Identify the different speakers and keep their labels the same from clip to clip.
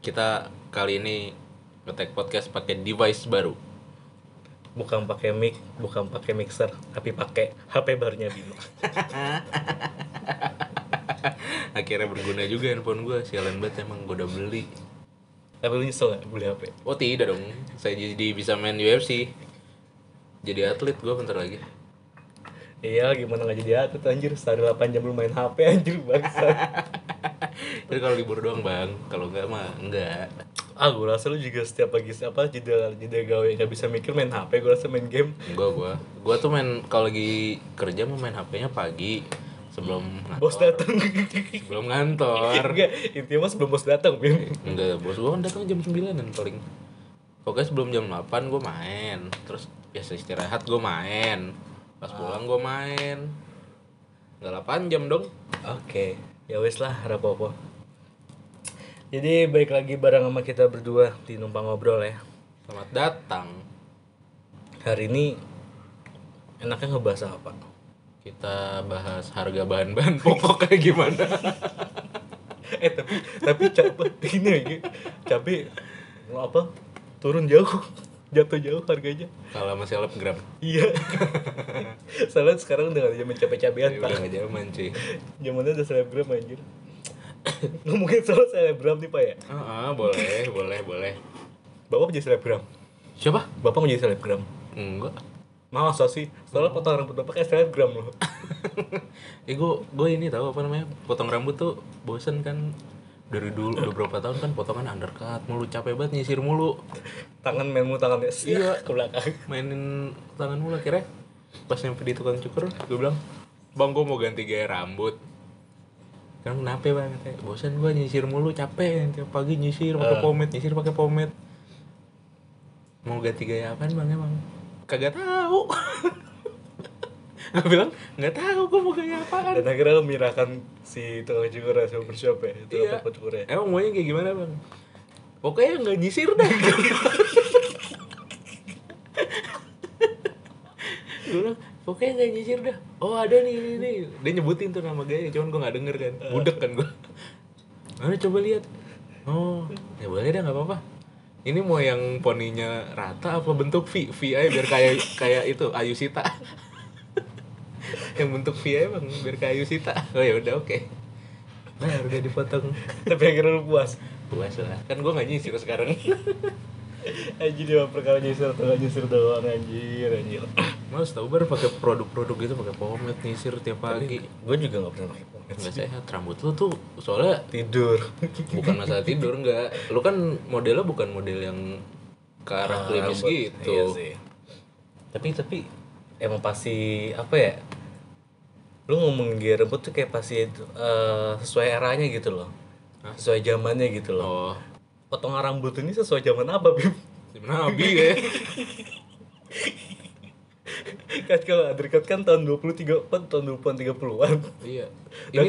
Speaker 1: kita kali ini ngetek podcast pakai device baru.
Speaker 2: bukan pakai mic, bukan pakai mixer, tapi pakai HP barunya Bima.
Speaker 1: Akhirnya berguna juga handphone gue. Sialan banget emang gue udah beli.
Speaker 2: tapi lu nyesel nggak beli HP?
Speaker 1: Oh tidak dong. Saya jadi bisa main UFC. Jadi atlet gue bentar lagi.
Speaker 2: Iya, gimana nggak jadi atlet anjir? Sehari 8 jam lu main HP anjir bangsa.
Speaker 1: Tapi kalau libur doang bang. Kalau enggak mah enggak.
Speaker 2: ah, gue rasa lu juga setiap pagi apa jeda jeda gawe nggak bisa mikir main HP, gue rasa main game.
Speaker 1: Enggak gue. Gue tuh main kalau lagi kerja mah main HP-nya pagi sebelum
Speaker 2: Bos datang.
Speaker 1: sebelum ngantor.
Speaker 2: Enggak, intinya mas sebelum bos datang, Bim.
Speaker 1: Enggak, bos gua kan datang jam 9-an paling. Pokoknya sebelum jam 8 gua main. Terus biasa istirahat gua main. Pas pulang gua main. Enggak 8 jam dong.
Speaker 2: Oke, ya wes lah rapopo. Jadi baik lagi bareng sama kita berdua di numpang ngobrol ya.
Speaker 1: Selamat datang.
Speaker 2: Hari ini enaknya ngebahas apa?
Speaker 1: Kita bahas harga bahan-bahan pokok kayak gimana.
Speaker 2: eh tapi tapi cabe ini lagi cabe mau apa turun jauh jatuh jauh harganya
Speaker 1: Kalau sama selebgram.
Speaker 2: iya soalnya sekarang udah gak zaman capek cabean
Speaker 1: Ya,
Speaker 2: pak
Speaker 1: udah enggak zaman sih.
Speaker 2: zamannya udah selebgram anjir ngomongin soal selebgram nih pak ya
Speaker 1: Ah, ah, boleh, boleh, boleh.
Speaker 2: bapak menjadi selebgram
Speaker 1: Siapa?
Speaker 2: bapak menjadi selebgram
Speaker 1: Enggak.
Speaker 2: masa sih soalnya potong rambut bapak kayak selebgram loh
Speaker 1: eh gua gua ini tahu apa namanya potong rambut tuh bosen kan dari dulu udah berapa tahun kan potongan undercut mulu capek banget nyisir mulu
Speaker 2: tangan main mulu tangannya
Speaker 1: Iya.
Speaker 2: iya ke belakang
Speaker 1: mainin tangan mulu akhirnya pas nyampe di tukang cukur gue bilang bang gue mau ganti gaya rambut kan kenapa ya, bang Katanya, bosan gue nyisir mulu capek tiap pagi nyisir pakai pomade nyisir pakai pomade mau ganti gaya apaan bang emang kagak tahu gue bilang nggak tahu gue mau gaya apaan
Speaker 2: dan akhirnya menyerahkan si tukang cukur ya, si barbershop ya itu
Speaker 1: Iya.
Speaker 2: tukang cukurnya
Speaker 1: Emang maunya kayak gimana bang? Pokoknya nggak nyisir dah. gue bilang, pokoknya nggak nyisir dah. Oh ada nih ini nih. Dia nyebutin tuh nama gayanya, cuman gue nggak denger kan. Budek kan gue. Mana coba lihat. Oh, ya boleh dah nggak apa-apa. Ini mau yang poninya rata apa bentuk V? V aja biar kayak kayak itu Ayu Sita. yang bentuk V aja bang, biar kayak Ayu Sita. Oh ya udah oke. Nah, udah dipotong
Speaker 2: tapi akhirnya lu puas
Speaker 1: puas lah kan gue nggak nyisir sekarang
Speaker 2: Anjir dia perkara nyisir tengah nyisir doang anjir anjir
Speaker 1: males tau baru pakai produk-produk gitu pakai pomade nyisir tiap pagi
Speaker 2: Gue juga gak pernah pakai pomade
Speaker 1: nggak sehat rambut lu tuh soalnya
Speaker 2: Tidur
Speaker 1: bukan masalah tidur nggak lu kan modelnya bukan model yang ke arah klimis
Speaker 2: Rambut.
Speaker 1: gitu
Speaker 2: Iya sih Tapi tapi gitu emang pasti apa ya Lu ngomong gaya rambut tuh kayak pasti eh, sesuai eranya gitu loh Sesuai zamannya gitu
Speaker 1: oh
Speaker 2: loh Potongan rambut ini sesuai zaman apa Bim?
Speaker 1: Tim Nabi ya
Speaker 2: kan kalau undercut kan tahun 23 kan tahun 20-an 30-an
Speaker 1: iya ini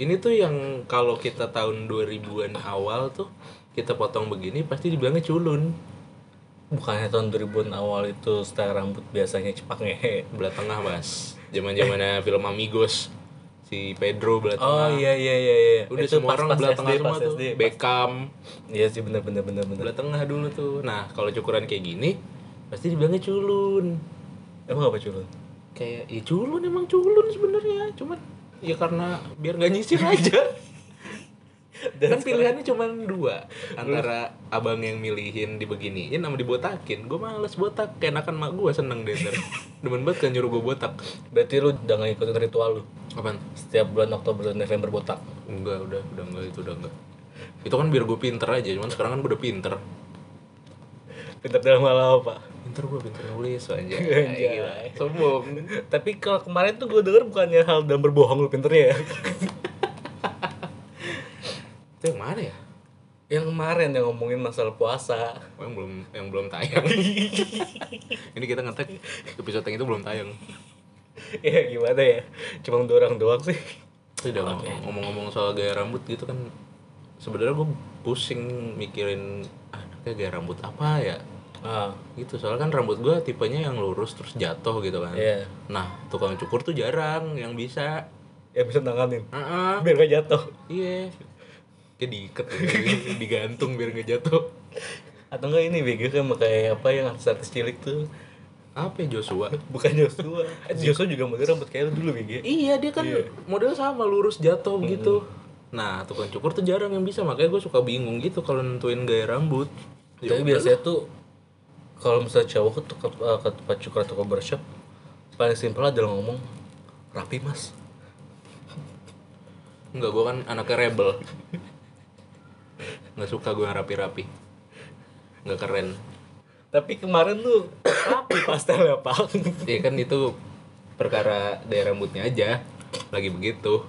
Speaker 1: ini tuh yang kalau kita tahun 2000-an awal tuh kita potong begini pasti dibilangnya culun
Speaker 2: Bukannya tahun 2000-an awal itu style rambut biasanya cepak ngehe
Speaker 1: belah tengah mas zaman zamannya film Amigos si Pedro belah tengah
Speaker 2: Eh. Oh iya iya iya iya.
Speaker 1: udah
Speaker 2: Itu
Speaker 1: semua
Speaker 2: pas-
Speaker 1: orang
Speaker 2: pas
Speaker 1: belah
Speaker 2: SD,
Speaker 1: tengah semua
Speaker 2: pas
Speaker 1: tuh
Speaker 2: SD.
Speaker 1: Beckham
Speaker 2: Iya sih benar benar benar
Speaker 1: belah
Speaker 2: benar.
Speaker 1: tengah dulu tuh nah kalau cukuran kayak gini pasti dibilangnya culun
Speaker 2: Emang apa culun?
Speaker 1: kayak ya culun emang culun sebenarnya cuman ya karena biar nggak nyisir aja dan pilihannya cuman dua antara abang yang milihin dibeginiin sama dibotakin gue males botak kenakan mak gue seneng deh ntar demen banget kan nyuruh gue botak
Speaker 2: Berarti lu udah gak ngikutin ritual lu.
Speaker 1: apaan
Speaker 2: Setiap bulan Oktober dan November botak.
Speaker 1: enggak udah udah enggak itu udah enggak itu kan biar gue pinter aja cuman sekarang kan gue udah pinter
Speaker 2: Pintar dalam hal apa?
Speaker 1: pinter gue pinter nulis aja
Speaker 2: Anjay.
Speaker 1: sombong
Speaker 2: Tapi kalau kemarin tuh gue denger bukannya hal dan berbohong lu pinternya ya.
Speaker 1: itu yang mana ya
Speaker 2: yang kemarin yang ngomongin masalah puasa.
Speaker 1: oh, yang belum yang belum tayang ini kita ngetek episode yang itu belum tayang
Speaker 2: ya gimana ya? Cuma dua orang doang sih.
Speaker 1: udah ngomong-ngomong soal gaya rambut gitu kan sebenarnya gue pusing mikirin ah kayak gaya rambut apa ya
Speaker 2: Ah,
Speaker 1: gitu soalnya kan rambut gue tipenya yang lurus terus jatuh gitu kan
Speaker 2: Iya.
Speaker 1: nah tukang cukur tuh jarang yang bisa
Speaker 2: ya bisa nanganin.
Speaker 1: Heeh.
Speaker 2: Biar gak jatuh.
Speaker 1: Iya. dia diikat gitu, digantung biar nggak jatuh
Speaker 2: atau enggak ini bego sama kayak apa yang artis-artis cilik tuh
Speaker 1: apa ya Joshua
Speaker 2: bukan Joshua Eh, Joshua juga model rambut kayak lu dulu bego
Speaker 1: iya dia kan
Speaker 2: Iya.
Speaker 1: model sama lurus jatuh gitu nah tukang cukur tuh jarang yang bisa makanya gue suka bingung gitu kalau nentuin gaya rambut Ya
Speaker 2: tapi biasanya tuh kalau misalnya cowok tuh ke, eh, ke tempat cukur atau ke barbershop paling simpel adalah ngomong rapi mas
Speaker 1: Enggak, gue kan anaknya rebel Nggak suka gue yang rapi-rapi Nggak keren
Speaker 2: tapi kemarin lu rapi pastelnya pak
Speaker 1: Ya kan itu perkara daya rambutnya aja Lagi begitu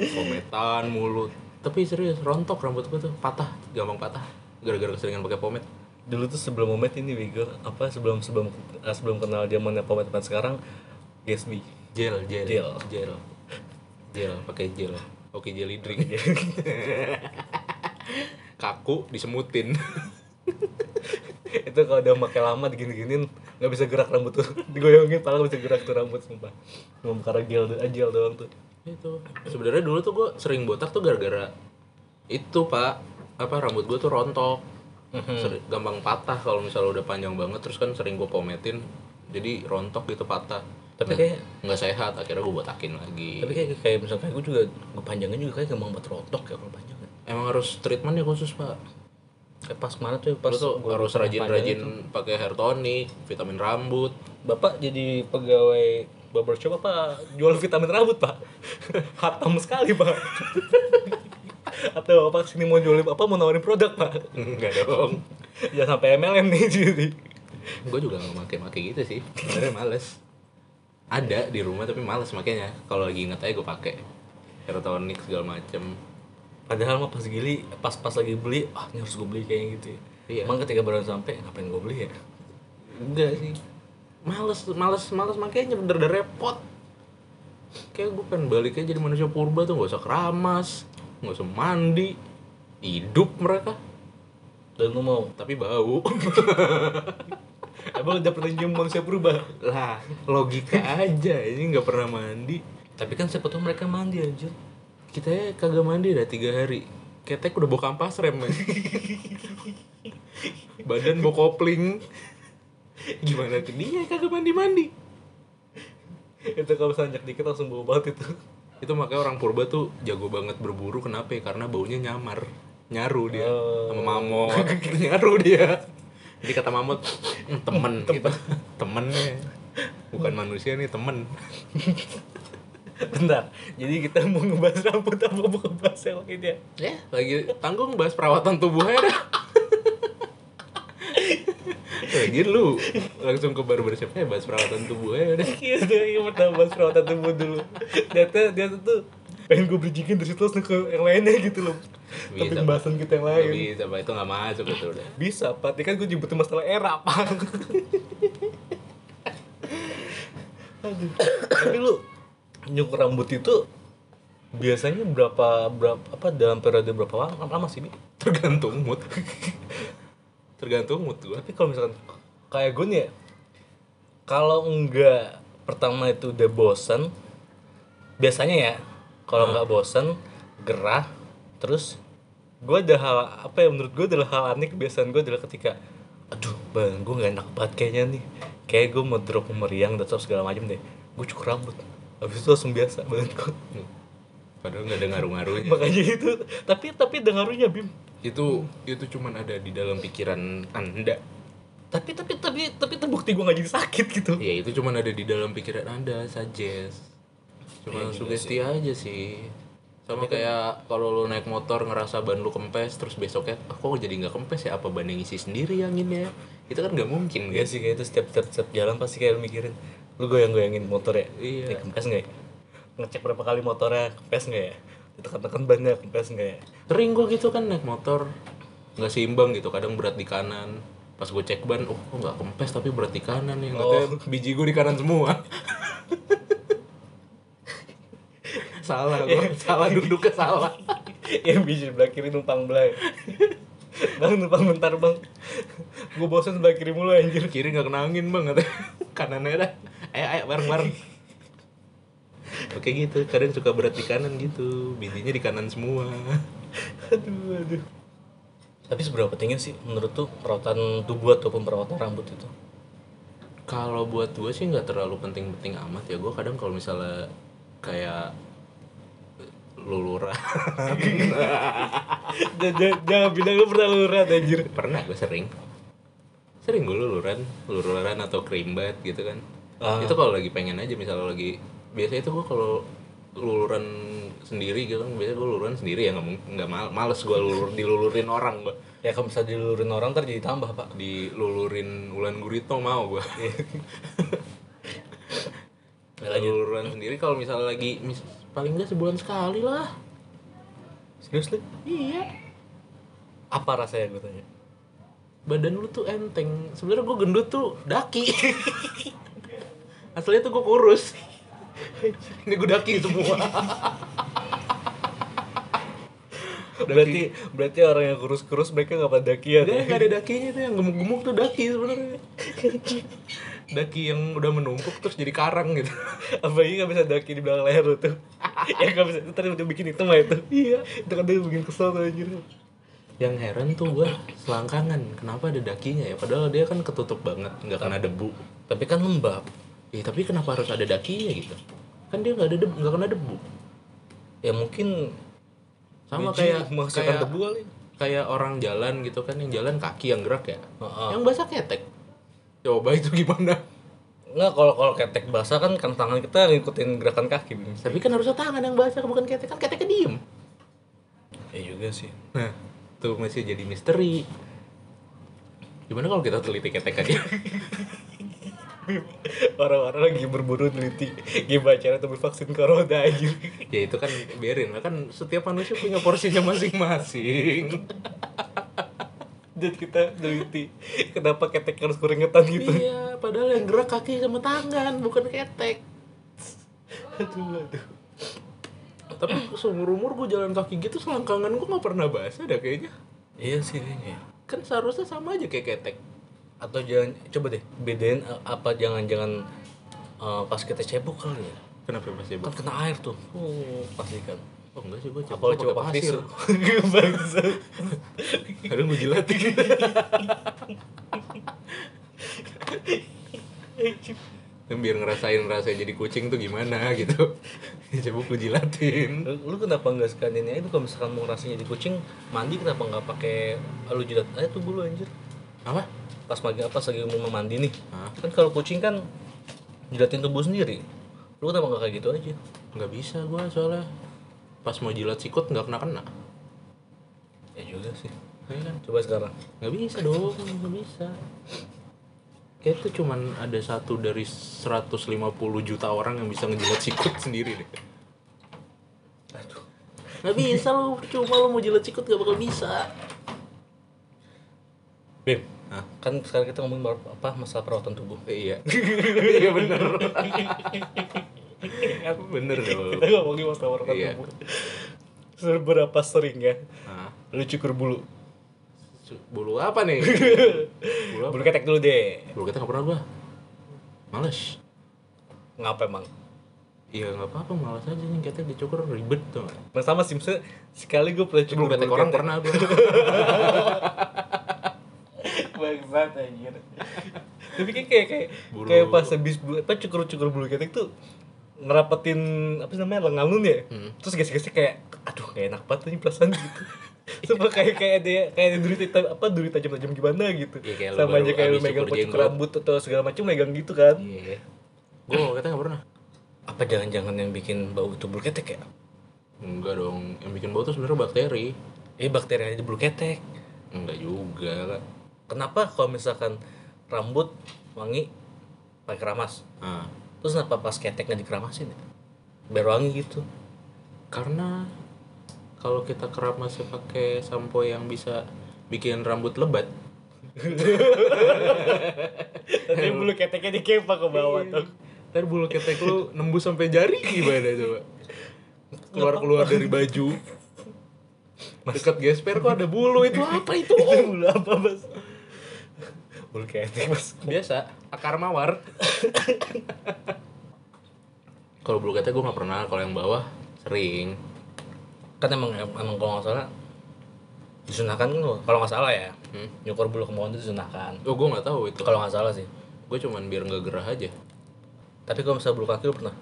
Speaker 1: Pometan mulu Tapi serius, rontok rambut gue tuh Patah, gampang patah Gara-gara keseringan pakai pomet
Speaker 2: dulu tuh sebelum momet ini bego apa sebelum sebelum eh, sebelum kenal zamannya pomet pomet sekarang Gatsby
Speaker 1: Gel, gel
Speaker 2: Gel.
Speaker 1: Gel, Gel, pakai gel Oke, jelly drink Kaku, disemutin
Speaker 2: itu kalau udah pakai lama digini-giniin nggak bisa gerak rambut tuh digoyongin paling bisa gerak tuh rambut sumpah cuma karena gel ajal doang tuh
Speaker 1: itu sebenarnya dulu tuh gue sering botak tuh gara-gara itu pak apa rambut gue tuh rontok Seri- gampang patah kalau misalnya udah panjang banget terus kan sering gue pometin jadi rontok gitu patah
Speaker 2: tapi
Speaker 1: Nah,
Speaker 2: kayak
Speaker 1: nggak sehat akhirnya gue botakin lagi
Speaker 2: tapi kayak kayak misalnya gue juga gue panjangin juga kayak gampang banget rontok ya kalau panjang
Speaker 1: emang harus treatment ya khusus pak
Speaker 2: kayak pas kemarin tuh pas
Speaker 1: lu tuh
Speaker 2: gua
Speaker 1: harus rajin-rajin pakai hair tonic vitamin rambut
Speaker 2: bapak jadi pegawai barbershop apa jual vitamin rambut pak hatam sekali pak atau apa sini mau jualin apa mau nawarin produk pak
Speaker 1: enggak dong
Speaker 2: jangan sampai MLM nih jadi
Speaker 1: gue juga nggak make-make gitu sih sebenarnya males ada di rumah tapi males makanya kalau lagi inget aja gue pakai hair tonic segala macem
Speaker 2: padahal mah pas gili pas pas lagi beli ah ini harus gue beli kayaknya gitu ya
Speaker 1: Iya.
Speaker 2: emang ketika baru sampai ngapain gue beli ya
Speaker 1: enggak sih males males males makanya bener bener repot kayak gue pengen balik aja jadi manusia purba tuh gak usah keramas gak usah mandi hidup mereka
Speaker 2: dan lu mau
Speaker 1: tapi bau
Speaker 2: emang udah pernah nyium manusia berubah
Speaker 1: lah logika aja ini nggak pernah mandi
Speaker 2: tapi kan siapa tahu mereka mandi aja
Speaker 1: kita ya kagak mandi dah tiga hari ketek udah bawa kampas rem men. badan bawa kopling gimana ke dia kagak mandi mandi
Speaker 2: itu kalau sanjak dikit langsung bau banget itu
Speaker 1: itu makanya orang purba tuh jago banget berburu kenapa ya? karena baunya nyamar nyaru dia
Speaker 2: Oh.
Speaker 1: sama mamot nyaru dia jadi kata mamot "Hmm, temen gitu temennya bukan manusia nih temen
Speaker 2: bentar jadi kita mau ngebahas rambut apa mau ngebahas yang lainnya
Speaker 1: ya lagi tanggung bahas perawatan tubuh aja dah. lagi Eh, lu langsung ke barbershop eh bahas perawatan tubuh aja udah
Speaker 2: gitu yang pertama bahas perawatan tubuh dulu ternyata dia tuh pengen gue bridgingin dari situ langsung ke yang lainnya gitu loh tapi
Speaker 1: Bisa,
Speaker 2: pembahasan kita yang
Speaker 1: Nggak
Speaker 2: lain
Speaker 1: bisa pak itu nggak masuk itu udah
Speaker 2: bisa pak ini kan gue nyebutin masalah era pak Aduh. tapi lu nyukur rambut itu biasanya berapa berapa apa dalam periode berapa lama, lama sih Bi?
Speaker 1: tergantung mood tergantung mood gua
Speaker 2: tapi kalau misalkan kayak gue nih ya, kalau enggak pertama itu udah bosen biasanya ya kalau nggak bosen gerah terus gue ada hal apa ya menurut gue adalah hal aneh kebiasaan gue adalah ketika aduh bang gue nggak enak banget kayaknya nih kayak gue mau drop meriang dan segala macam deh gue cukur rambut habis itu langsung biasa banget kok
Speaker 1: Hmm. Padahal nggak ada ngaruh-ngaruhnya.
Speaker 2: makanya itu tapi tapi dengarunya bim
Speaker 1: itu itu cuman ada di dalam pikiran Anda.
Speaker 2: tapi tapi tapi tapi terbukti gue nggak jadi sakit gitu
Speaker 1: Ya itu cuman ada di dalam pikiran Anda, suggest. Cuma sugesti aja sih. Sama kayak kalau lo naik motor ngerasa ban lu kempes terus besoknya "Ah, kok jadi nggak kempes ya apa ban yang ngisi sendiri anginnya? Itu kan nggak mungkin
Speaker 2: Iya
Speaker 1: guys.
Speaker 2: sih kayak itu setiap setiap, setiap jalan pasti kayak lu mikirin lu goyang-goyangin motor ya.
Speaker 1: Iya.
Speaker 2: Ya, kempes enggak ya? Ngecek berapa kali motornya kempes enggak ya? Ditekan-tekan bannya kempes enggak ya?
Speaker 1: Sering gua gitu kan naik motor nggak seimbang gitu, kadang berat di kanan. Pas gue cek ban, oh kok nggak kempes tapi berat di kanan ya.
Speaker 2: Oh.
Speaker 1: Katanya biji gue di kanan semua. salah gua, salah duduknya salah.
Speaker 2: yang biji sebelah kiri numpang belah. ya. bang numpang bentar bang. Gue bosan sebelah kiri mulu anjir.
Speaker 1: Kiri nggak kena angin bang katanya. Kanannya dah. Ayo ayo bareng bareng. Kayak gitu, kadang suka berat di kanan gitu. Bijinya di kanan semua.
Speaker 2: aduh aduh tapi seberapa pentingnya sih menurut tuh perawatan tubuh ataupun perawatan rambut itu
Speaker 1: Kalau buat gue sih nggak terlalu penting-penting amat ya. Gue kadang kalau misalnya kayak luluran
Speaker 2: jangan, jangan bilang lu pernah luluran anjir
Speaker 1: pernah gue sering sering gue luluran luluran atau krimbat gitu kan
Speaker 2: Ah.
Speaker 1: itu kalau lagi pengen aja misalnya lagi biasanya itu gue kalau luluran sendiri gitu kan biasanya gue luluran sendiri ya nggak mung- nggak mal males gue lulur dilulurin orang gue
Speaker 2: ya kalau misalnya dilulurin orang ntar jadi tambah pak
Speaker 1: dilulurin Ulan Guritno mau gue luluran sendiri kalau misalnya lagi mis- paling nggak sebulan sekali lah
Speaker 2: serius lu
Speaker 1: iya
Speaker 2: apa rasanya gue tanya
Speaker 1: badan lu tuh enteng sebenarnya gue gendut tuh daki aslinya tuh gue kurus ini gue daki semua
Speaker 2: berarti berarti orang yang kurus-kurus mereka nggak pada dakian
Speaker 1: dia
Speaker 2: ya
Speaker 1: nggak ada dakinya tuh yang gemuk-gemuk tuh daki sebenarnya daki yang udah menumpuk terus jadi karang gitu
Speaker 2: apalagi nggak bisa daki di belakang leher lu tuh ya nggak bisa ntar udah bikin hitam aja tuh iya itu kan dia bikin kesel tuh anjir
Speaker 1: yang heran tuh gue selangkangan kenapa ada dakinya ya padahal dia kan ketutup banget nggak kena debu
Speaker 2: tapi kan lembab
Speaker 1: ya tapi kenapa harus ada dakinya gitu kan dia nggak ada debu nggak kena debu
Speaker 2: ya mungkin
Speaker 1: sama
Speaker 2: biji
Speaker 1: kayak
Speaker 2: menghasilkan
Speaker 1: kayak
Speaker 2: debu kali
Speaker 1: kayak orang jalan gitu kan yang jalan kaki yang gerak ya
Speaker 2: Heeh.
Speaker 1: yang basah ketek coba itu gimana
Speaker 2: Nggak, kalau kalau ketek basah kan kan tangan kita ngikutin gerakan kaki Bim.
Speaker 1: tapi kan harusnya tangan yang basah bukan ketek kan keteknya diem
Speaker 2: Ya juga sih.
Speaker 1: nah tuh masih jadi misteri gimana kalau kita teliti ketek aja
Speaker 2: Orang-orang lagi berburu neliti gimana cara tubuh vaksin corona aja.
Speaker 1: ya itu kan biarin lah kan setiap manusia punya porsinya masing-masing
Speaker 2: Dan kita neliti kenapa ketek harus keringetan gitu.
Speaker 1: iya padahal yang gerak kaki sama tangan bukan ketek
Speaker 2: aduh, aduh.
Speaker 1: tapi seumur umur gue jalan kaki gitu selangkangan gue nggak pernah basah dah kayaknya
Speaker 2: Iya sih kayaknya.
Speaker 1: kan seharusnya sama aja kayak ketek
Speaker 2: Atau jangan coba deh bedain eh, apa jangan-jangan eh, pas kita cebok kali ya.
Speaker 1: kenapa masih
Speaker 2: Kan kena air tuh. Uh, pasti kan.
Speaker 1: Oh enggak sih gue
Speaker 2: Apa lu
Speaker 1: coba coba
Speaker 2: coba pakai
Speaker 1: pasir.
Speaker 2: tisu? Bangsa.
Speaker 1: Kadang gue jilatin. Dan biar ngerasain rasanya jadi kucing tuh gimana gitu. Ya, coba gue jilatin.
Speaker 2: Lu, lu kenapa nggak sekalian ini aja kalau misalkan mau rasanya jadi kucing mandi kenapa nggak pakai lu jilat aja tuh bulu anjir
Speaker 1: Apa?
Speaker 2: pas pagi apa lagi mau mandi nih
Speaker 1: Hah?
Speaker 2: kan kalau kucing kan jilatin tubuh sendiri lu kenapa nggak kayak gitu aja
Speaker 1: Enggak bisa gue soalnya pas mau jilat sikut nggak kena kena.
Speaker 2: ya juga sih
Speaker 1: Iya kan?
Speaker 2: coba sekarang
Speaker 1: Nggak bisa dong, nggak bisa. Kayak itu cuman ada satu dari 150 juta orang yang bisa ngejilat sikut sendiri deh.
Speaker 2: aduh
Speaker 1: Nggak bisa lu, cuma lu mau jilat sikut nggak bakal bisa.
Speaker 2: Bim
Speaker 1: Hah?
Speaker 2: kan sekarang kita ngomongin bar- apa masalah perawatan tubuh
Speaker 1: Iya. iya bener. bener dong.
Speaker 2: ngomongin masalah perawatan
Speaker 1: Iya.
Speaker 2: seberapa seringnya
Speaker 1: Nah,
Speaker 2: lu cukur bulu
Speaker 1: su- bulu apa nih? Bulu apa?
Speaker 2: bulu ketek dulu deh
Speaker 1: Bulu kita nggak pernah gua. Males.
Speaker 2: ngapa emang
Speaker 1: Iya nggak apa-apa, males aja nih kita dicukur ribet tuh.
Speaker 2: Nah, sama sih, maksudnya sekali gue
Speaker 1: Bulu
Speaker 2: pernah cukur
Speaker 1: ketek orang pernah gua.
Speaker 2: Bangsat anjir. Tapi kayak kayak kayak,
Speaker 1: Bulu-
Speaker 2: kayak pas habis bulu apa cukur-cukur bulu ketek tuh ngerapetin apa sih namanya lengan lu nih ya.
Speaker 1: Hmm.
Speaker 2: Terus gesek-gesek kayak aduh kayak enak banget nih perasaan gitu. Sumpah kayak kayak ada kayak ada duri tajam apa duri tajam-tajam gimana gitu.
Speaker 1: Iya, kayak lu
Speaker 2: Sama
Speaker 1: baru
Speaker 2: aja kayak lu
Speaker 1: habis
Speaker 2: megang
Speaker 1: cukur
Speaker 2: cukur
Speaker 1: jenggot.
Speaker 2: rambut atau segala macam megang gitu kan.
Speaker 1: Iya. Gua kita nggak pernah.
Speaker 2: Apa jangan-jangan yang bikin bau tuh bulu ketek ya?
Speaker 1: Enggak dong, yang bikin bau tuh sebenarnya bakteri.
Speaker 2: Eh bakteri ada di bulu ketek.
Speaker 1: Enggak juga lah.
Speaker 2: Kenapa kalau misalkan rambut wangi pakai keramas?
Speaker 1: Ah,
Speaker 2: Terus kenapa pas keteknya dikeramasin ya? Biar wangi gitu
Speaker 1: karena kalau kita kerap masih pakai sampo yang bisa bikin rambut lebat,
Speaker 2: Tapi bulu keteknya dikepak ke bawah tuh
Speaker 1: Ntar bulu ketek lu nembus sampai jari gimana coba? Keluar-keluar dari baju. Dekat gesper kok ada bulu itu apa itu?
Speaker 2: Itu bulu apa mas? Bulu ketek mas
Speaker 1: Biasa, akar mawar. kalau bulu ketek gue nggak pernah kalau yang bawah sering
Speaker 2: kan emang emang kalau nggak salah disunahkan kan lo, kalau nggak salah ya
Speaker 1: Hmm.
Speaker 2: nyukur bulu kemaluan itu disunahkan
Speaker 1: oh gue nggak tahu itu
Speaker 2: kalau nggak salah sih
Speaker 1: gue cuman biar nggak gerah aja
Speaker 2: tapi kalau misalnya bulu kaki lu pernah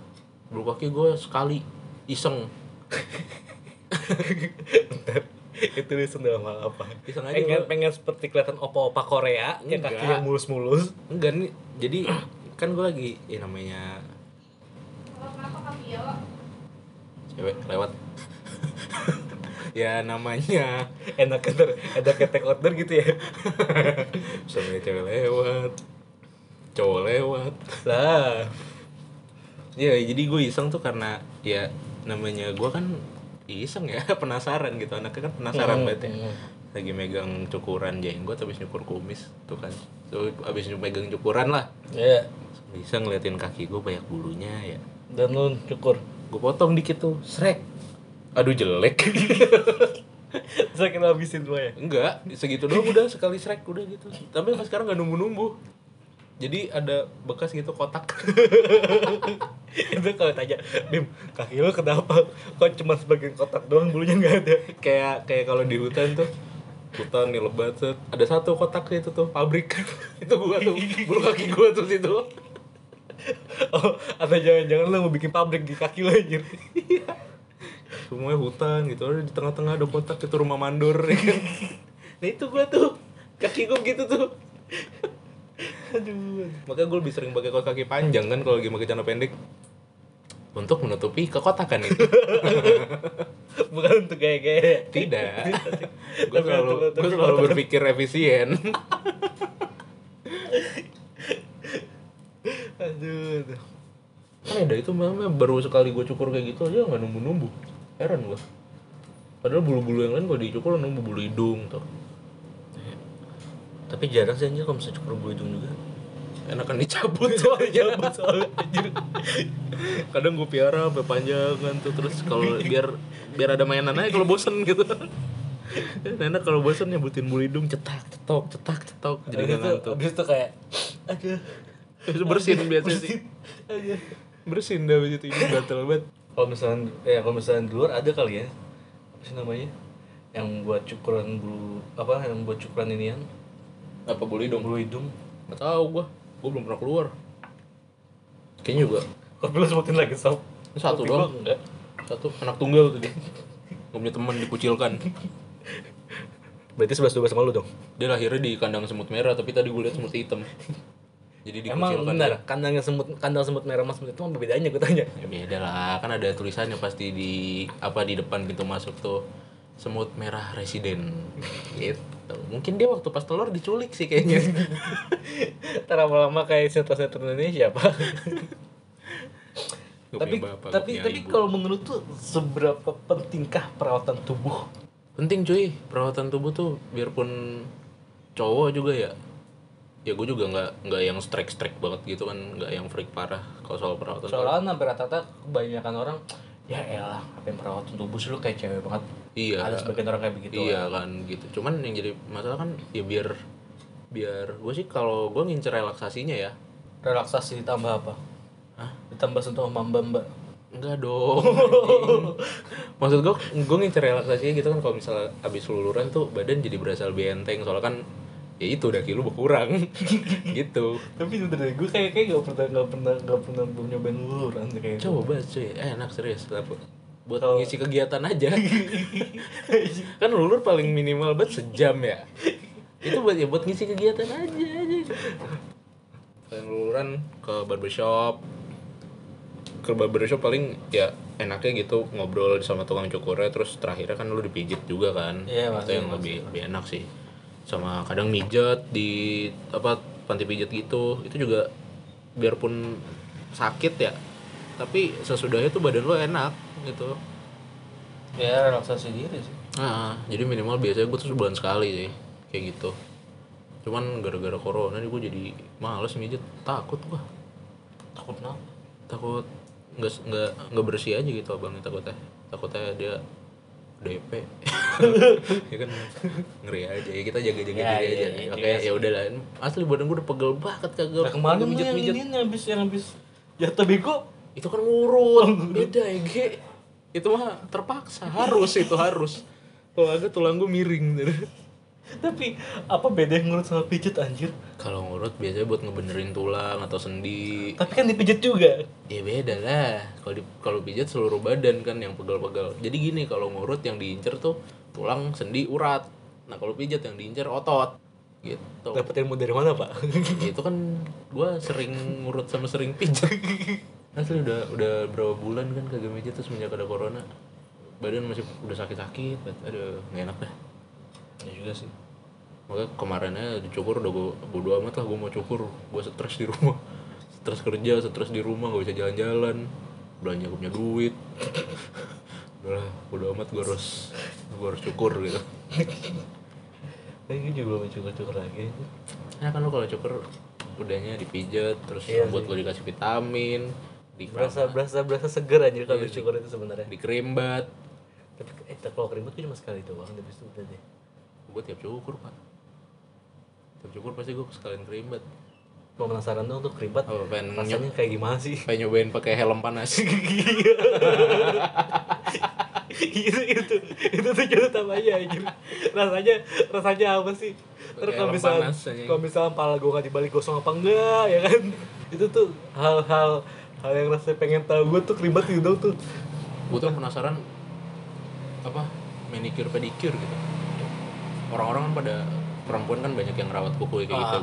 Speaker 1: bulu kaki gue sekali iseng
Speaker 2: itu listen dalam hal apa
Speaker 1: Iseng aja,
Speaker 2: pengen
Speaker 1: Bang.
Speaker 2: pengen seperti kelihatan opa-opa Korea yang
Speaker 1: Enggak.
Speaker 2: kaki yang mulus-mulus
Speaker 1: enggak nih jadi kan gue lagi ya namanya cewek lewat ya namanya
Speaker 2: enak ntar ada ketek order gitu ya
Speaker 1: sampai cewek lewat cowok lewat
Speaker 2: lah
Speaker 1: ya jadi gue iseng tuh karena ya namanya gue kan iseng ya penasaran gitu anaknya kan penasaran banget ya
Speaker 2: hmm.
Speaker 1: lagi megang cukuran jenggot habis nyukur kumis tuh kan tuh habis megang cukuran lah
Speaker 2: ya
Speaker 1: bisa ngeliatin kaki gue banyak bulunya ya
Speaker 2: dan lu cukur
Speaker 1: gue potong dikit tuh srek aduh jelek
Speaker 2: saya kena habisin ya. semuanya
Speaker 1: enggak segitu doang udah sekali srek udah gitu tapi sampai sekarang gak numbuh numbuh jadi ada bekas gitu kotak
Speaker 2: itu kalau tanya Bim kaki lu kenapa kok cuma sebagian kotak doang bulunya nggak ada
Speaker 1: kayak kayak kalau di hutan tuh hutan nih lebat set. ada satu kotak itu tuh pabrik itu gua tuh bulu kaki gua tuh situ
Speaker 2: oh atau jangan-jangan lu mau bikin pabrik di kaki lu anjir
Speaker 1: semuanya hutan gitu ada di tengah-tengah ada kotak itu rumah mandor ya kan nah itu gua tuh kaki gua gitu tuh
Speaker 2: aduh
Speaker 1: makanya gue lebih sering pakai kaos kaki panjang kan kalau lagi pakai celana pendek untuk menutupi kekotakan itu
Speaker 2: bukan untuk gaya-gaya
Speaker 1: tidak gue
Speaker 2: Tapi
Speaker 1: selalu
Speaker 2: untuk- untuk
Speaker 1: gue selalu berpikir efisien
Speaker 2: aduh, aduh.
Speaker 1: kan ada itu memang baru sekali gue cukur kayak gitu aja nggak numbuh numbuh heran gue padahal bulu-bulu yang lain gue dicukur numbuh bulu hidung tuh
Speaker 2: tapi jarang sih anjir kalau misalnya cukur bulu hidung juga
Speaker 1: enakan dicabut
Speaker 2: Iya,
Speaker 1: soalnya
Speaker 2: soalnya anjir
Speaker 1: kadang gue piara sampai panjang kan tuh terus kalau biar biar ada mainan aja kalau bosen gitu enak kalau bosen nyebutin bulu hidung cetak cetok cetak cetok jadi
Speaker 2: jadi
Speaker 1: nggak
Speaker 2: itu
Speaker 1: ngantuk
Speaker 2: abis itu kayak aduh
Speaker 1: Terus bersin biasanya sih
Speaker 2: aduh
Speaker 1: bersin dah abis itu ini gatel banget
Speaker 2: kalau misalnya ya kalau misalnya di luar ada kali ya apa sih namanya yang buat cukuran bulu apa yang buat cukuran inian
Speaker 1: apa bulu hidung
Speaker 2: bulu hidung
Speaker 1: nggak tahu gue gue belum pernah keluar kayaknya juga
Speaker 2: Kopi lu sebutin lagi sob
Speaker 1: Ini satu
Speaker 2: Kopi
Speaker 1: doang.
Speaker 2: gua enggak
Speaker 1: satu anak tunggal tuh dia gak punya teman dikucilkan
Speaker 2: Berarti 11-12 sama lu dong
Speaker 1: dia lahirnya di kandang semut merah tapi tadi gue lihat semut hitam jadi
Speaker 2: Emang
Speaker 1: dikucilkan
Speaker 2: benar kandangnya semut kandang semut merah mas semut itu apa bedanya gue tanya
Speaker 1: Ya beda lah, kan ada tulisannya pasti di apa di depan pintu masuk tuh semut merah residen gitu. Mungkin dia waktu pas telur diculik sih kayaknya.
Speaker 2: Ntar lama-lama kayak sinetron-sinetron Indonesia apa
Speaker 1: Gak
Speaker 2: Tapi
Speaker 1: punya bapak, gak
Speaker 2: tapi
Speaker 1: punya
Speaker 2: tapi
Speaker 1: ibu.
Speaker 2: kalau menurut tuh seberapa pentingkah perawatan tubuh?
Speaker 1: penting cuy perawatan tubuh tuh biarpun cowok juga ya ya gue juga nggak nggak yang strike strike banget gitu kan nggak yang freak parah kalau soal perawatan
Speaker 2: Soalnya hampir rata-rata kebanyakan orang ya elah apa yang perawatan tubuh sih lu kayak cewek banget
Speaker 1: iya
Speaker 2: ada sebagian orang kayak begitu
Speaker 1: iya kan gitu cuman yang jadi masalah kan ya biar biar gue sih kalau gue ngincer relaksasinya ya
Speaker 2: relaksasi ditambah apa Hah? ditambah sentuh sama mbak mbak
Speaker 1: Enggak dong. anjing. Maksud gue, gue ngincer relaksasinya gitu kan kalau misalnya abis luluran tuh badan jadi berasa lebih enteng soalnya kan ya itu daki lu berkurang gitu.
Speaker 2: tapi sebenernya gue kayak kayak gak pernah gak pernah gak pernah belum nyobain luluran kayak gitu.
Speaker 1: Coba cuy, eh, enak serius. Apa? Buat
Speaker 2: Kalau-
Speaker 1: ngisi kegiatan aja. kan lulur paling minimal banget sejam ya. Itu buat ya buat ngisi kegiatan aja aja. Paling luluran ke barbershop. Ke barbershop paling ya enaknya gitu ngobrol sama tukang cukurnya terus terakhirnya kan lu dipijit juga kan. Itu
Speaker 2: Iya, pasti,
Speaker 1: yang lebih lebih enak sih. Sama kadang mijat di apa panti pijat gitu. Itu juga biarpun sakit ya tapi sesudahnya tuh badan lu enak gitu
Speaker 2: ya relaksasi diri sih
Speaker 1: Nah, jadi minimal biasanya gue tuh sebulan sekali sih, kayak gitu. Cuman gara-gara corona nih gue jadi males mijit, takut gua.
Speaker 2: takut kenapa
Speaker 1: Takut nggak nggak nggak bersih aja gitu abangnya takutnya. Takutnya dia DP. ya kan ngeri aja ya kita jaga-jaga diri
Speaker 2: Ya, iya,
Speaker 1: aja.
Speaker 2: iya,
Speaker 1: Oke, ya udahlah. Asli badan gue udah pegel banget kagak.
Speaker 2: nah kemarin
Speaker 1: kagak
Speaker 2: lu yang ini yang habis yang habis jatuh bego
Speaker 1: itu kan ngurut beda EG itu mah terpaksa harus itu harus kalau agak tulang gue miring
Speaker 2: Tapi apa bedanya ngurut sama pijet anjir?
Speaker 1: kalau ngurut biasanya buat ngebenerin tulang atau sendi
Speaker 2: Tapi kan dipijet juga.
Speaker 1: ya beda lah kalau di- kalau pijat seluruh badan kan yang pegal-pegal jadi gini kalau ngurut yang diincer tuh tulang sendi urat nah kalau pijat yang diincer otot gitu
Speaker 2: Dapat ilmu dari mana, Pak?
Speaker 1: Ya, itu kan gua sering ngurut sama sering pijat asli udah udah berapa bulan kan kagak pijat terus semenjak ada corona badan masih udah sakit-sakit banget. aduh nggak enak dah
Speaker 2: ya juga sih.
Speaker 1: Makanya kemarinnya dicukur udah gue bodo amat lah gue mau cukur Gue stres di rumah Stres kerja, stres di rumah, gak bisa jalan-jalan Belanja gak punya duit Udah lah, bodo amat gue harus Gue harus cukur gitu
Speaker 2: Tapi gue juga mau cukur-cukur lagi.
Speaker 1: Ya kan lo kalau cukur Udahnya dipijat, terus
Speaker 2: Iya
Speaker 1: buat lo dikasih vitamin di
Speaker 2: Berasa berasa berasa seger anjir kalau habis cukur itu sebenarnya.
Speaker 1: Dikerimbat
Speaker 2: Tapi eh kalau keringat gue cuma sekali doang habis itu udah deh.
Speaker 1: Gue tiap cukur pak Tiap cukur pasti gue sekalian kerimbat
Speaker 2: Mau penasaran dong tuh keribat
Speaker 1: Apa, pengen
Speaker 2: rasanya kayak gimana sih?
Speaker 1: Pengen nyobain pakai helm panas
Speaker 2: itu itu Gitu, itu tuh jodoh tambahnya anjir rasanya rasanya apa sih terus
Speaker 1: Kayak
Speaker 2: kalau
Speaker 1: lem
Speaker 2: misalnya
Speaker 1: panas aja.
Speaker 2: kalau misalnya pala gue nggak dibalik gosong apa enggak ya kan itu tuh hal-hal hal yang rasanya pengen tahu gue tuh keribat gitu dong tuh
Speaker 1: gue tuh penasaran apa manicure pedicure gitu orang-orang kan pada perempuan kan banyak yang ngerawat kuku kayak gitu
Speaker 2: Ah.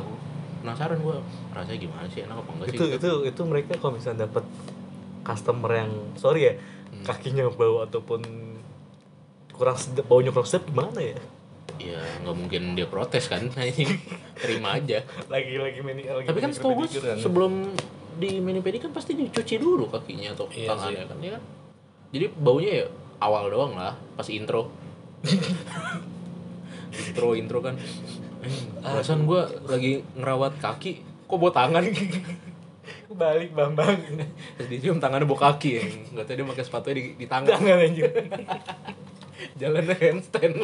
Speaker 1: penasaran gue rasanya gimana sih enak apa enggak sih
Speaker 2: itu itu itu mereka kalau misalnya dapat customer yang sorry ya
Speaker 1: Hmm.
Speaker 2: kakinya bau ataupun kurang sedap baunya kurang sedap gimana ya
Speaker 1: ya nggak mungkin dia protes kan terima aja
Speaker 2: lagi-lagi mini lagi
Speaker 1: tapi kan setahu gue sebelum di mini pedi kan pasti dicuci dulu kakinya atau
Speaker 2: Iya
Speaker 1: tangannya kan ya kan jadi baunya ya awal doang lah pas intro intro intro kan "Hmm, perasaan gue lagi ngerawat kaki kok bawa tangan
Speaker 2: balik bambang
Speaker 1: terus dia cium tangannya bawa kaki ya nggak tahu dia pakai sepatunya di, di tangan
Speaker 2: jangan anjir
Speaker 1: jalannya handstand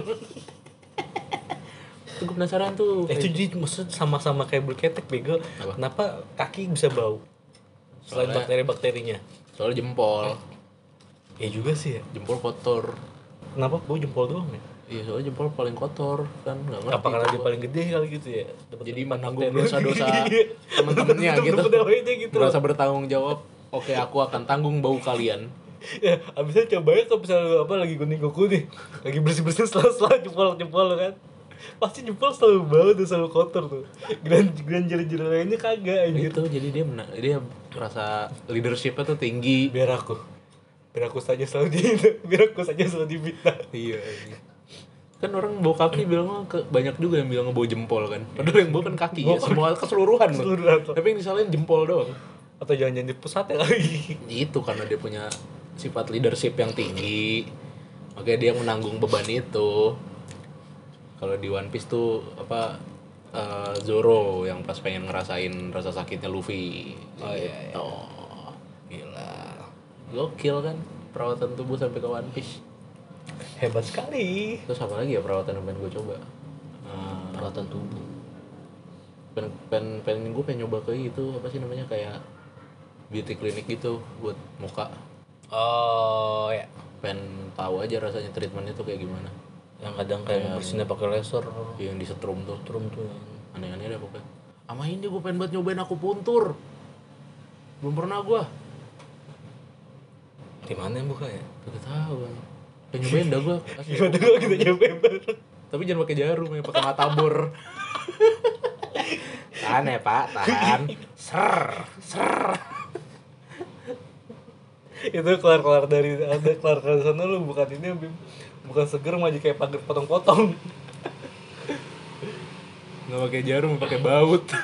Speaker 1: tuh gue penasaran tuh
Speaker 2: Eh, itu jadi maksud sama-sama kayak bulu ketek bego.
Speaker 1: Apa?
Speaker 2: Kenapa kaki bisa bau? Selain
Speaker 1: Soalnya-
Speaker 2: bakteri-bakterinya.
Speaker 1: soalnya jempol
Speaker 2: Ya juga sih ya.
Speaker 1: jempol kotor
Speaker 2: Kenapa bau jempol doang ya?
Speaker 1: iya soalnya jempol paling kotor kan nggak ngerti
Speaker 2: Apa karena dia paling gede kali gitu ya? Dapat
Speaker 1: jadi
Speaker 2: tempat
Speaker 1: menanggung
Speaker 2: bakteri.
Speaker 1: dosa-dosa
Speaker 2: Iya.
Speaker 1: temen-temennya
Speaker 2: Dapat
Speaker 1: gitu
Speaker 2: temen-temennya gitu.
Speaker 1: merasa bertanggung jawab oke aku akan tanggung bau kalian
Speaker 2: Ya, abisnya cobain kalau misalnya lu apa lagi gunting kuku nih, lagi bersih-bersih selalu-selalu jempol-jempol lu kan. Pasti jempol selalu bau dan selalu kotor tuh. Grand grand jari-jari lainnya kagak
Speaker 1: itu
Speaker 2: anjir.
Speaker 1: Gitu, jadi dia mena- dia merasa leadershipnya tuh tinggi
Speaker 2: Biar aku. Biar aku saja selalu di biar aku saja selalu dibita.
Speaker 1: iya kan orang bau kaki bilang "Oh, ke, banyak juga yang bilang bau jempol kan padahal yang bau kan kaki ya semua keseluruhan loh.
Speaker 2: Oh, Keseluruhan, Pak.
Speaker 1: tapi yang disalahin jempol doang
Speaker 2: atau jangan-jangan di pusatnya lagi
Speaker 1: itu karena dia punya sifat leadership yang tinggi makanya dia menanggung beban itu kalau di One Piece tuh apa eh, Zoro yang pas pengen ngerasain rasa sakitnya Luffy oh, gitu gila gokil kan perawatan tubuh sampai ke One Piece
Speaker 2: hebat sekali
Speaker 1: terus apa lagi ya perawatan yang pengen gue coba Eh,
Speaker 2: peralatan tubuh
Speaker 1: pengen pengen, pengen gue pengen nyoba kayak gitu apa sih namanya kayak beauty clinic gitu buat muka
Speaker 2: oh ya
Speaker 1: pengen tahu aja rasanya treatmentnya tuh kayak gimana
Speaker 2: yang kadang kayak bersihinnya pakai laser
Speaker 1: yang disetrum tuh
Speaker 2: turun tuh
Speaker 1: aneh-aneh deh pokoknya sama ini gue pengen banget nyobain aku puntur belum pernah gue
Speaker 2: di mana yang buka ya
Speaker 1: gak tahu kan pengen nyobain dah gue
Speaker 2: gimana kalau kita nyoba bareng
Speaker 1: tapi jangan pakai jarum ya pakai matabor tahan ya pak tahan ser ser
Speaker 2: itu kelar kelar dari ada kelar kelar sana lu bukan ini bim bukan seger maju kayak pagar potong potong
Speaker 1: nggak pakai jarum pakai baut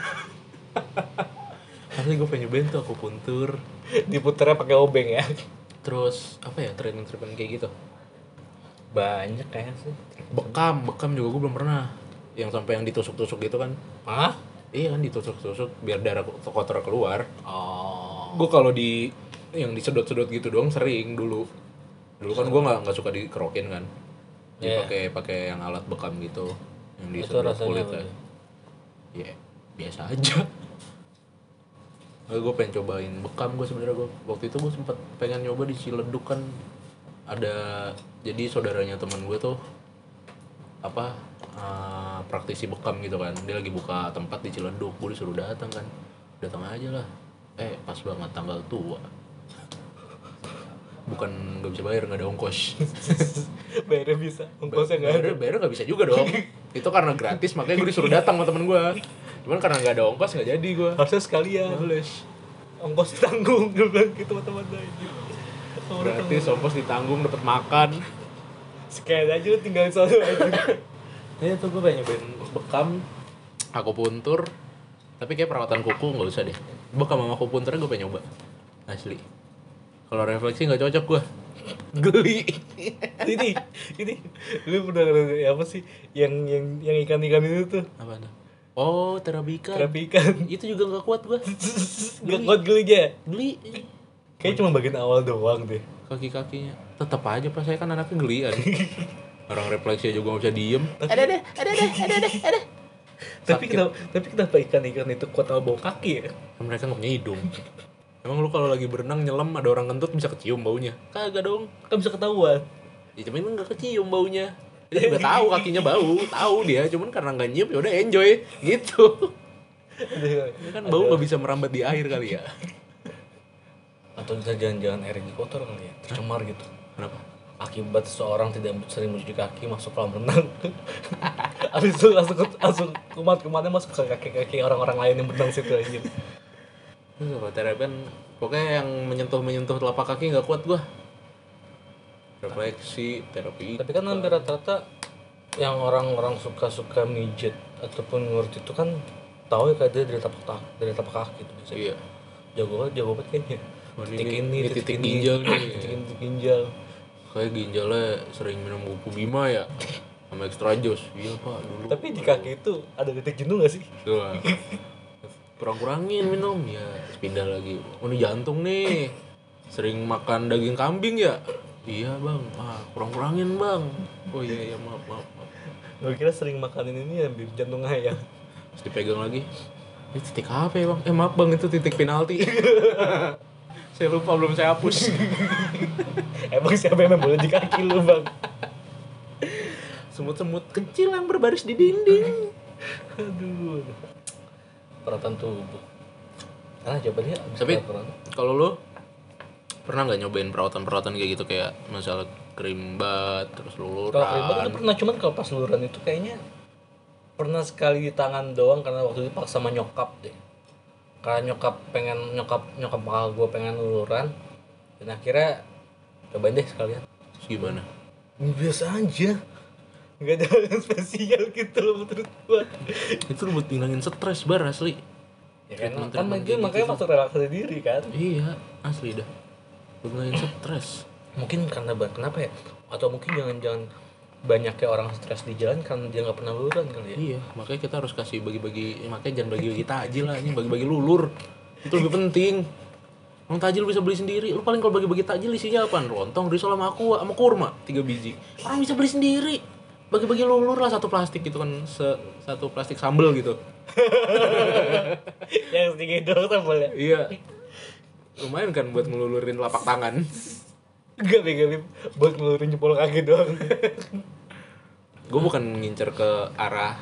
Speaker 1: Asli gue pengen nyobain tuh aku puntur
Speaker 2: diputernya pakai obeng ya
Speaker 1: Terus apa ya treatment-treatment kayak gitu
Speaker 2: banyak kayaknya sih
Speaker 1: Bekam, bekam juga gue belum pernah Yang sampai yang ditusuk-tusuk gitu kan
Speaker 2: ah
Speaker 1: Iya kan ditusuk-tusuk biar darah ko- kotor keluar.
Speaker 2: oh
Speaker 1: Gue kalau di yang disedot-sedot gitu doang sering dulu. Dulu kan gue nggak nggak suka dikerokin kan. Jadi
Speaker 2: Iya.
Speaker 1: pakai pakai yang alat bekam gitu yang
Speaker 2: Itu
Speaker 1: disedot
Speaker 2: rasanya
Speaker 1: kulit
Speaker 2: apa
Speaker 1: ya.
Speaker 2: tuh?
Speaker 1: Iya, biasa aja. Nggak, gue pengen cobain bekam gue sebenarnya gue waktu itu gue sempet pengen nyoba di Ciledug kan ada jadi saudaranya teman gue tuh apa eh, praktisi bekam gitu kan dia lagi buka tempat di Ciledug gue disuruh datang kan datang aja lah eh pas banget tanggal tua bukan nggak bisa bayar nggak ada ongkos
Speaker 2: Bayarnya bisa, ongkosnya nggak ada.
Speaker 1: bayarnya bayarnya nggak bisa juga dong itu karena gratis makanya gue disuruh datang sama temen gue cuman karena nggak ada ongkos nggak jadi gue
Speaker 2: Harusnya sekalian. Ongkos tanggung gue bilang gitu sama teman gue. Sama orang
Speaker 1: gratis ongkos ditanggung dapat makan
Speaker 2: Sekalian aja lu tinggalin satu aja.
Speaker 1: ya
Speaker 2: Iya,
Speaker 1: itu gue pengen nyobain bekam aku puntur tapi kayak perawatan kuku nggak usah deh bekam sama aku punturnya gue pengen nyoba asli kalau refleksi nggak cocok gue geli
Speaker 2: ini ini lu pernah ngeliat apa sih yang yang yang ikan-ikan itu tuh
Speaker 1: apa tuh oh terabika
Speaker 2: terapi ikan
Speaker 1: itu juga nggak kuat gue
Speaker 2: gak kuat geli ya
Speaker 1: geli
Speaker 2: kayaknya cuma bagian awal doang deh
Speaker 1: kaki kakinya tetap aja pas saya kan anaknya gelian orang refleksi aja gue nggak bisa diem
Speaker 2: ada ada ada ada ada ada tapi kenapa tapi kenapa ikan-ikan itu kuat sama bau kaki ya
Speaker 1: mereka nggak punya hidung emang lu kalau lagi berenang nyelam ada orang kentut bisa kecium baunya kagak dong
Speaker 2: kan bisa ketahuan
Speaker 1: ya cuman kan nggak kecium baunya dia juga tahu kakinya bau tahu dia cuman karena nggak nyium ya udah enjoy gitu Ini kan bau nggak bisa merambat di air kali ya
Speaker 2: atau bisa jangan-jangan airnya kotor kali ya tercemar gitu
Speaker 1: kenapa
Speaker 2: akibat seorang tidak sering mencuci kaki masuk kolam renang habis itu langsung langsung kumat-kumatnya masuk ke kaki-kaki orang-orang lain yang berenang situ aja
Speaker 1: Terus apa terapan pokoknya yang menyentuh menyentuh telapak kaki nggak kuat gua refleksi terapi
Speaker 2: tapi kan hampir rata-rata yang orang-orang suka-suka mijit ataupun ngurut itu kan tahu ya kayak dia dari tapak tak- dari tapak kaki tuh biasanya
Speaker 1: iya
Speaker 2: jago banget jago banget kayaknya
Speaker 1: Oh, ini-
Speaker 2: titik ini
Speaker 1: ini titik ginjal nih.
Speaker 2: titik ini titik ginjal
Speaker 1: kayak ginjalnya sering minum kuku bima ya sama extra jus iya pak dulu
Speaker 2: tapi di kaki itu ada titik jenuh gak sih
Speaker 1: Tuh. Kurang-kurangin minum ya, terus pindah lagi. Oh, ini jantung nih. Sering makan daging kambing ya? Iya, Bang. Ah, kurang-kurangin, Bang. Oh iya, iya, maaf, maaf. maaf.
Speaker 2: gue kira sering makanin ini yang bikin jantung ayam
Speaker 1: Terus dipegang lagi. Ini titik apa ya, Bang? Eh, maaf, Bang, itu titik penalti. saya lupa belum saya hapus.
Speaker 2: emang siapa yang boleh di kaki lu bang
Speaker 1: Semut-semut kecil yang berbaris di dinding.
Speaker 2: aduh peratan tubuh karena coba dia abis
Speaker 1: Tapi-
Speaker 2: peratan.
Speaker 1: Kalau lo pernah nggak nyobain perawatan-perawatan kayak gitu kayak masalah kerimbat terus luluran
Speaker 2: Kalau keribat itu pernah cuman kalau pas luluran itu kayaknya pernah sekali di tangan doang karena waktu itu paksa sama nyokap deh. Karena nyokap pengen nyokap nyokap bakal gue pengen luluran dan akhirnya cobain deh sekalian.
Speaker 1: Terus gimana
Speaker 2: Biasa aja. Gak ada yang spesial gitu loh menurut gue.
Speaker 1: itu lu buat ngilangin stres bar asli
Speaker 2: Ya kan,
Speaker 1: Treatment-
Speaker 2: kan
Speaker 1: treatment
Speaker 2: makanya, makanya faktor relaksasi diri kan.
Speaker 1: iya asli dah buat ngilangin stres
Speaker 2: Mungkin karena ba- kenapa ya? Atau mungkin jangan-jangan banyaknya orang stres di jalan karena dia nggak pernah luluran kali ya.
Speaker 1: iya makanya kita harus kasih bagi-bagi eh, makanya jangan bagi-bagi tajil lah ini bagi-bagi lulur itu lebih penting Emang tajil bisa beli sendiri, lu paling kalau bagi-bagi tajil isinya apaan? Lontong, risol sama aku, sama kurma, tiga biji Orang bisa beli sendiri Bagi-bagi lulur lah satu plastik gitu kan, se- satu plastik sambel gitu
Speaker 2: yang sedikit doang sambalnya.
Speaker 1: Iya Lumayan kan buat ngelulurin lapak tangan
Speaker 2: Gak Beb, gak Beb. buat ngeluarin jempol kaki doang.
Speaker 1: gue bukan ngincer ke arah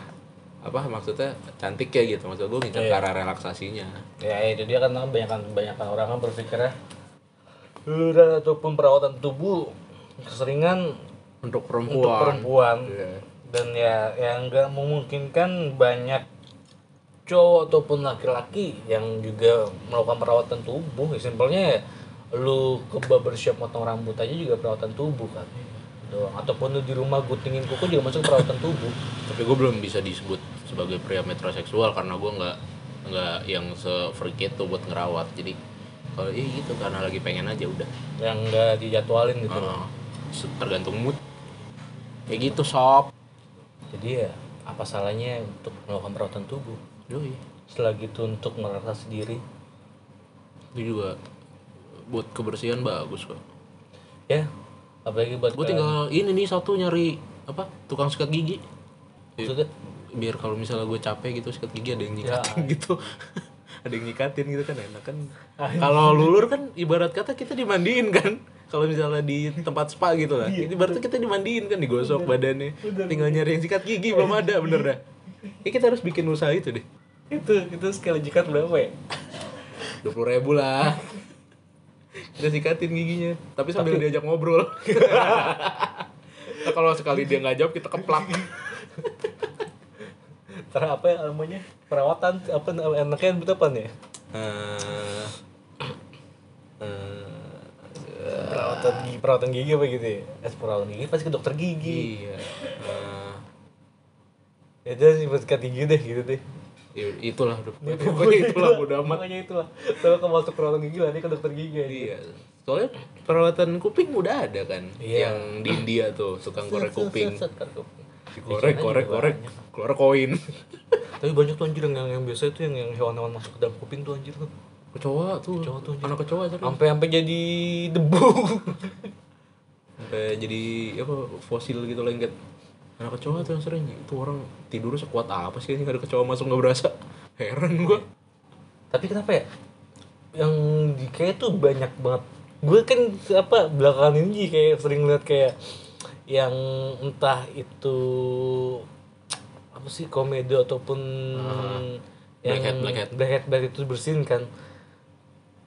Speaker 1: apa maksudnya cantik ya gitu maksud gue ngincer ke arah relaksasinya
Speaker 2: ya itu dia kan kebanyakan kebanyakan orang kan berpikirnya luluran ataupun perawatan tubuh keseringan
Speaker 1: untuk
Speaker 2: untuk
Speaker 1: perempuan
Speaker 2: perempuan
Speaker 1: Iya.
Speaker 2: dan ya yang nggak memungkinkan banyak cowok ataupun laki-laki yang juga melakukan perawatan tubuh ya, simpelnya ya, lu ke barbershop motong rambut aja juga perawatan tubuh kan doang ataupun lu di rumah gutingin kuku juga masuk perawatan tubuh
Speaker 1: tapi gue belum bisa disebut sebagai pria metroseksual karena gue nggak nggak yang se freak itu buat ngerawat jadi kalau iya gitu karena lagi pengen aja udah
Speaker 2: yang nggak dijadwalin gitu
Speaker 1: Eh, se- tergantung mood kayak gitu sob
Speaker 2: Jadi ya apa salahnya untuk melakukan perawatan tubuh?
Speaker 1: Yoi.
Speaker 2: Selagi itu untuk merelaksasi diri,
Speaker 1: itu juga buat kebersihan bagus kok
Speaker 2: ya apalagi buat
Speaker 1: gue
Speaker 2: ke-
Speaker 1: tinggal ini nih satu nyari apa tukang sikat gigi
Speaker 2: maksudnya
Speaker 1: biar kalau misalnya gue capek gitu sikat gigi ada yang nyikatin gitu ada yang nyikatin gitu kan enak kan kalau lulur kan ibarat kata kita dimandiin kan kalau misalnya di tempat spa gitu lah ibarat tuh kita dimandiin kan digosok badannya tinggal nyari yang sikat gigi belum ada bener dah ya kita harus bikin usaha itu deh
Speaker 2: itu itu sekali jikat berapa ya
Speaker 1: dua puluh ribu lah kita sikatin giginya tapi sambil diajak ngobrol Nah, kalau sekali dia nggak jawab kita keplak
Speaker 2: Ntar apa ya namanya perawatan apa enaknya itu apa ya
Speaker 1: Eh, eh,
Speaker 2: perawatan gigi perawatan gigi apa gitu ya es perawatan gigi pasti ke dokter gigi
Speaker 1: iya eh,
Speaker 2: ya jadi sih sikat gigi deh gitu deh
Speaker 1: ya, itulah Iya. udah pokoknya itulah bodo amat
Speaker 2: makanya itulah kalau ke waktu perawatan gigi lah dia ke dokter gigi aja.
Speaker 1: Iya. Soalnya perawatan kuping udah ada kan
Speaker 2: Iya.
Speaker 1: yang di India tuh tukang gorek kuping.
Speaker 2: Set, set, set, kuping.
Speaker 1: Gorek, gorek, gorek, keluar koin.
Speaker 2: tapi banyak tuh anjir yang yang, yang biasa itu yang yang hewan-hewan masuk ke dalam kuping tuh anjir tuh
Speaker 1: Kecoa tuh.
Speaker 2: Kecoa tuh, anjir.
Speaker 1: Anak kecoa serius.
Speaker 2: sampai sampai jadi debu
Speaker 1: Sampai jadi apa fosil gitu lengket. Anak kecoa tuh yang sering itu orang tidur sekuat apa sih nggak ada kecoa masuk nggak berasa. Heran gua.
Speaker 2: tapi kenapa ya yang di kayak tuh banyak banget gue kan apa belakangan ini jadi kayak sering lihat kayak yang entah itu apa sih komedo ataupun yang
Speaker 1: Blackhead, blackhead.
Speaker 2: blackhead blackhead itu bersihin kan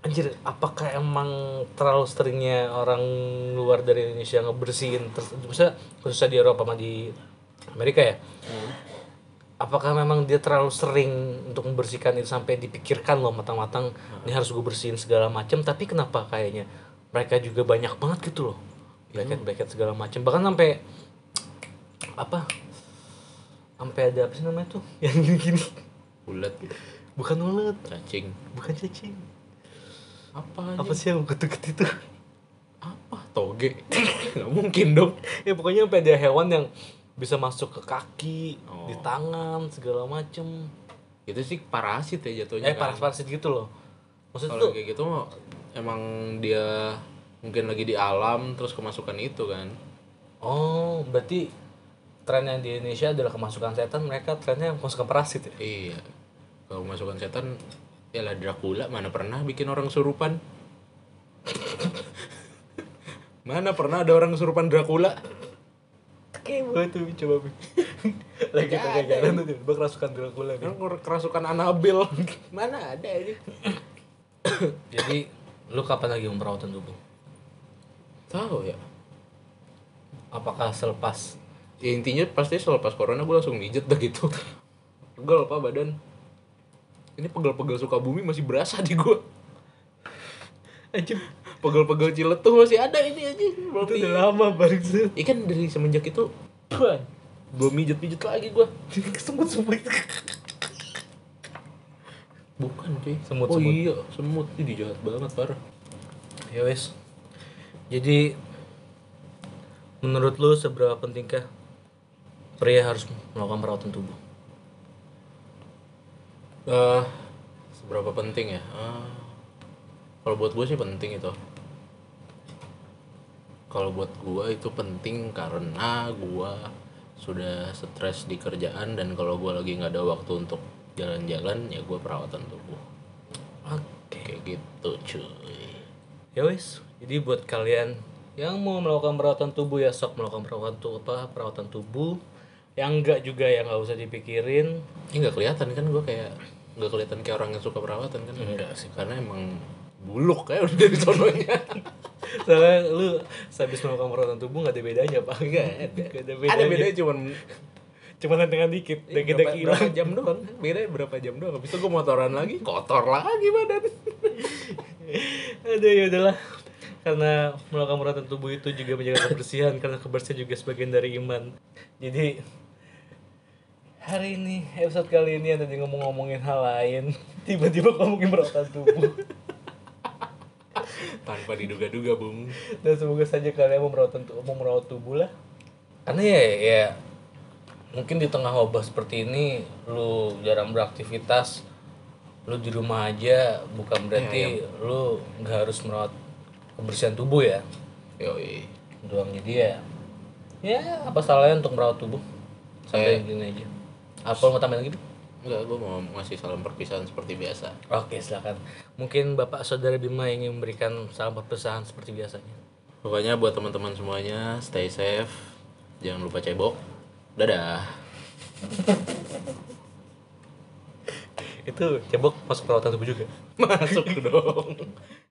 Speaker 2: anjir apakah emang terlalu seringnya orang luar dari Indonesia ngebersihin terus maksudnya khususnya di Eropa sama di Amerika ya apakah memang dia terlalu sering untuk membersihkan itu sampai dipikirkan loh matang-matang
Speaker 1: Hmm.
Speaker 2: ini harus gue bersihin segala macam tapi kenapa kayaknya mereka juga banyak banget gitu loh bracket-bracket
Speaker 1: Hmm.
Speaker 2: segala macam bahkan sampai apa sampai ada apa sih namanya tuh yang gini-gini
Speaker 1: Bulat, gitu.
Speaker 2: bukan ulet
Speaker 1: cacing.
Speaker 2: bukan cacing
Speaker 1: Apa?
Speaker 2: apa
Speaker 1: Apa?
Speaker 2: sih yang ketuk itu
Speaker 1: apa? Toge. Nggak mungkin dong.
Speaker 2: ya pokoknya sampai ada hewan yang bisa masuk ke kaki
Speaker 1: Oh.
Speaker 2: di tangan segala macem
Speaker 1: Itu sih parasit ya jatuhnya.
Speaker 2: eh
Speaker 1: kan.
Speaker 2: paras-parasit gitu loh maksud
Speaker 1: Kalau
Speaker 2: tuh
Speaker 1: kayak gitu mah emang dia mungkin lagi di alam terus kemasukan itu kan.
Speaker 2: Oh, berarti tren yang di Indonesia adalah kemasukan setan, mereka trennya kemasukan parasit ya?
Speaker 1: Iya. Kalau kemasukan setan ya lah Dracula mana pernah bikin orang surupan? mana pernah ada orang surupan Dracula?
Speaker 2: Oke, boleh tuh coba. Bi. Lagi kita kayak jalan tuh, tiba kerasukan gitu. Dracula nih.
Speaker 1: Orang nger- kerasukan Anabel. mana ada ini?
Speaker 2: Jadi, lu kapan lagi perawatan tubuh?
Speaker 1: Tahu ya.
Speaker 2: Apakah selepas?
Speaker 1: Ya intinya pasti selepas corona gue langsung mijet dah gitu. Pegel apa badan? Ini pegel-pegel Sukabumi masih berasa di gue.
Speaker 2: Anjir,
Speaker 1: Pegel-pegel Ciletuh masih ada ini aja. Belum di-
Speaker 2: lama balik set.
Speaker 1: Iya kan dari semenjak itu gue mijet-mijet lagi gue.
Speaker 2: Semut-semut.
Speaker 1: Bukan cuy.
Speaker 2: Semut,
Speaker 1: oh
Speaker 2: semut.
Speaker 1: iya, semut. Ini jahat banget parah.
Speaker 2: Ya wes. Jadi, menurut lu seberapa pentingkah pria harus melakukan perawatan tubuh?
Speaker 1: Eh, seberapa penting ya? Eh, kalau buat gue sih penting itu. Kalau buat gue itu penting karena gue sudah stres di kerjaan dan kalau gue lagi nggak ada waktu untuk jalan-jalan ya gue perawatan tubuh
Speaker 2: Oke.
Speaker 1: kayak gitu cuy.
Speaker 2: ya wis jadi buat kalian yang mau melakukan perawatan tubuh ya sok melakukan perawatan tubuh apa perawatan tubuh yang enggak juga ya nggak usah dipikirin
Speaker 1: Ini nggak kelihatan kan gue kayak nggak kelihatan kayak orang yang suka perawatan kan?
Speaker 2: Enggak sih.
Speaker 1: Karena emang buluk kayak udah dari sononya.
Speaker 2: soalnya lu habis melakukan perawatan tubuh nggak ada bedanya pak nggak ada ada bedanya,
Speaker 1: Ada bedanya cuman
Speaker 2: cuma dengan dikit dan kita
Speaker 1: Iya, berapa, berapa jam doang bedanya berapa jam doang habis itu gue motoran lagi kotor lagi badan
Speaker 2: ada ya udahlah karena melakukan perawatan tubuh itu juga menjaga kebersihan karena kebersihan juga sebagian dari iman jadi hari ini episode kali ini yang tadi ngomong-ngomongin hal lain tiba-tiba ngomongin perawatan tubuh
Speaker 1: tanpa diduga-duga bung
Speaker 2: dan semoga saja kalian mau merawat tu- mau merawat tubuh lah karena ya, ya mungkin di tengah wabah seperti ini lu jarang beraktivitas lu di rumah aja bukan berarti lu nggak harus merawat kebersihan tubuh ya
Speaker 1: yoi
Speaker 2: doang jadi ya Iya. ya apa salahnya untuk merawat tubuh sampai gini aja apa lu mau tambahin lagi Bi?
Speaker 1: Enggak, gue mau ngasih salam perpisahan seperti biasa.
Speaker 2: Oke, silakan. Mungkin Bapak Saudara Bima ingin memberikan salam perpisahan seperti biasanya.
Speaker 1: Pokoknya buat teman-teman semuanya stay safe, jangan lupa cebok. Dadah.
Speaker 2: Itu cebok masuk perawatan tubuh juga.
Speaker 1: Masuk dong.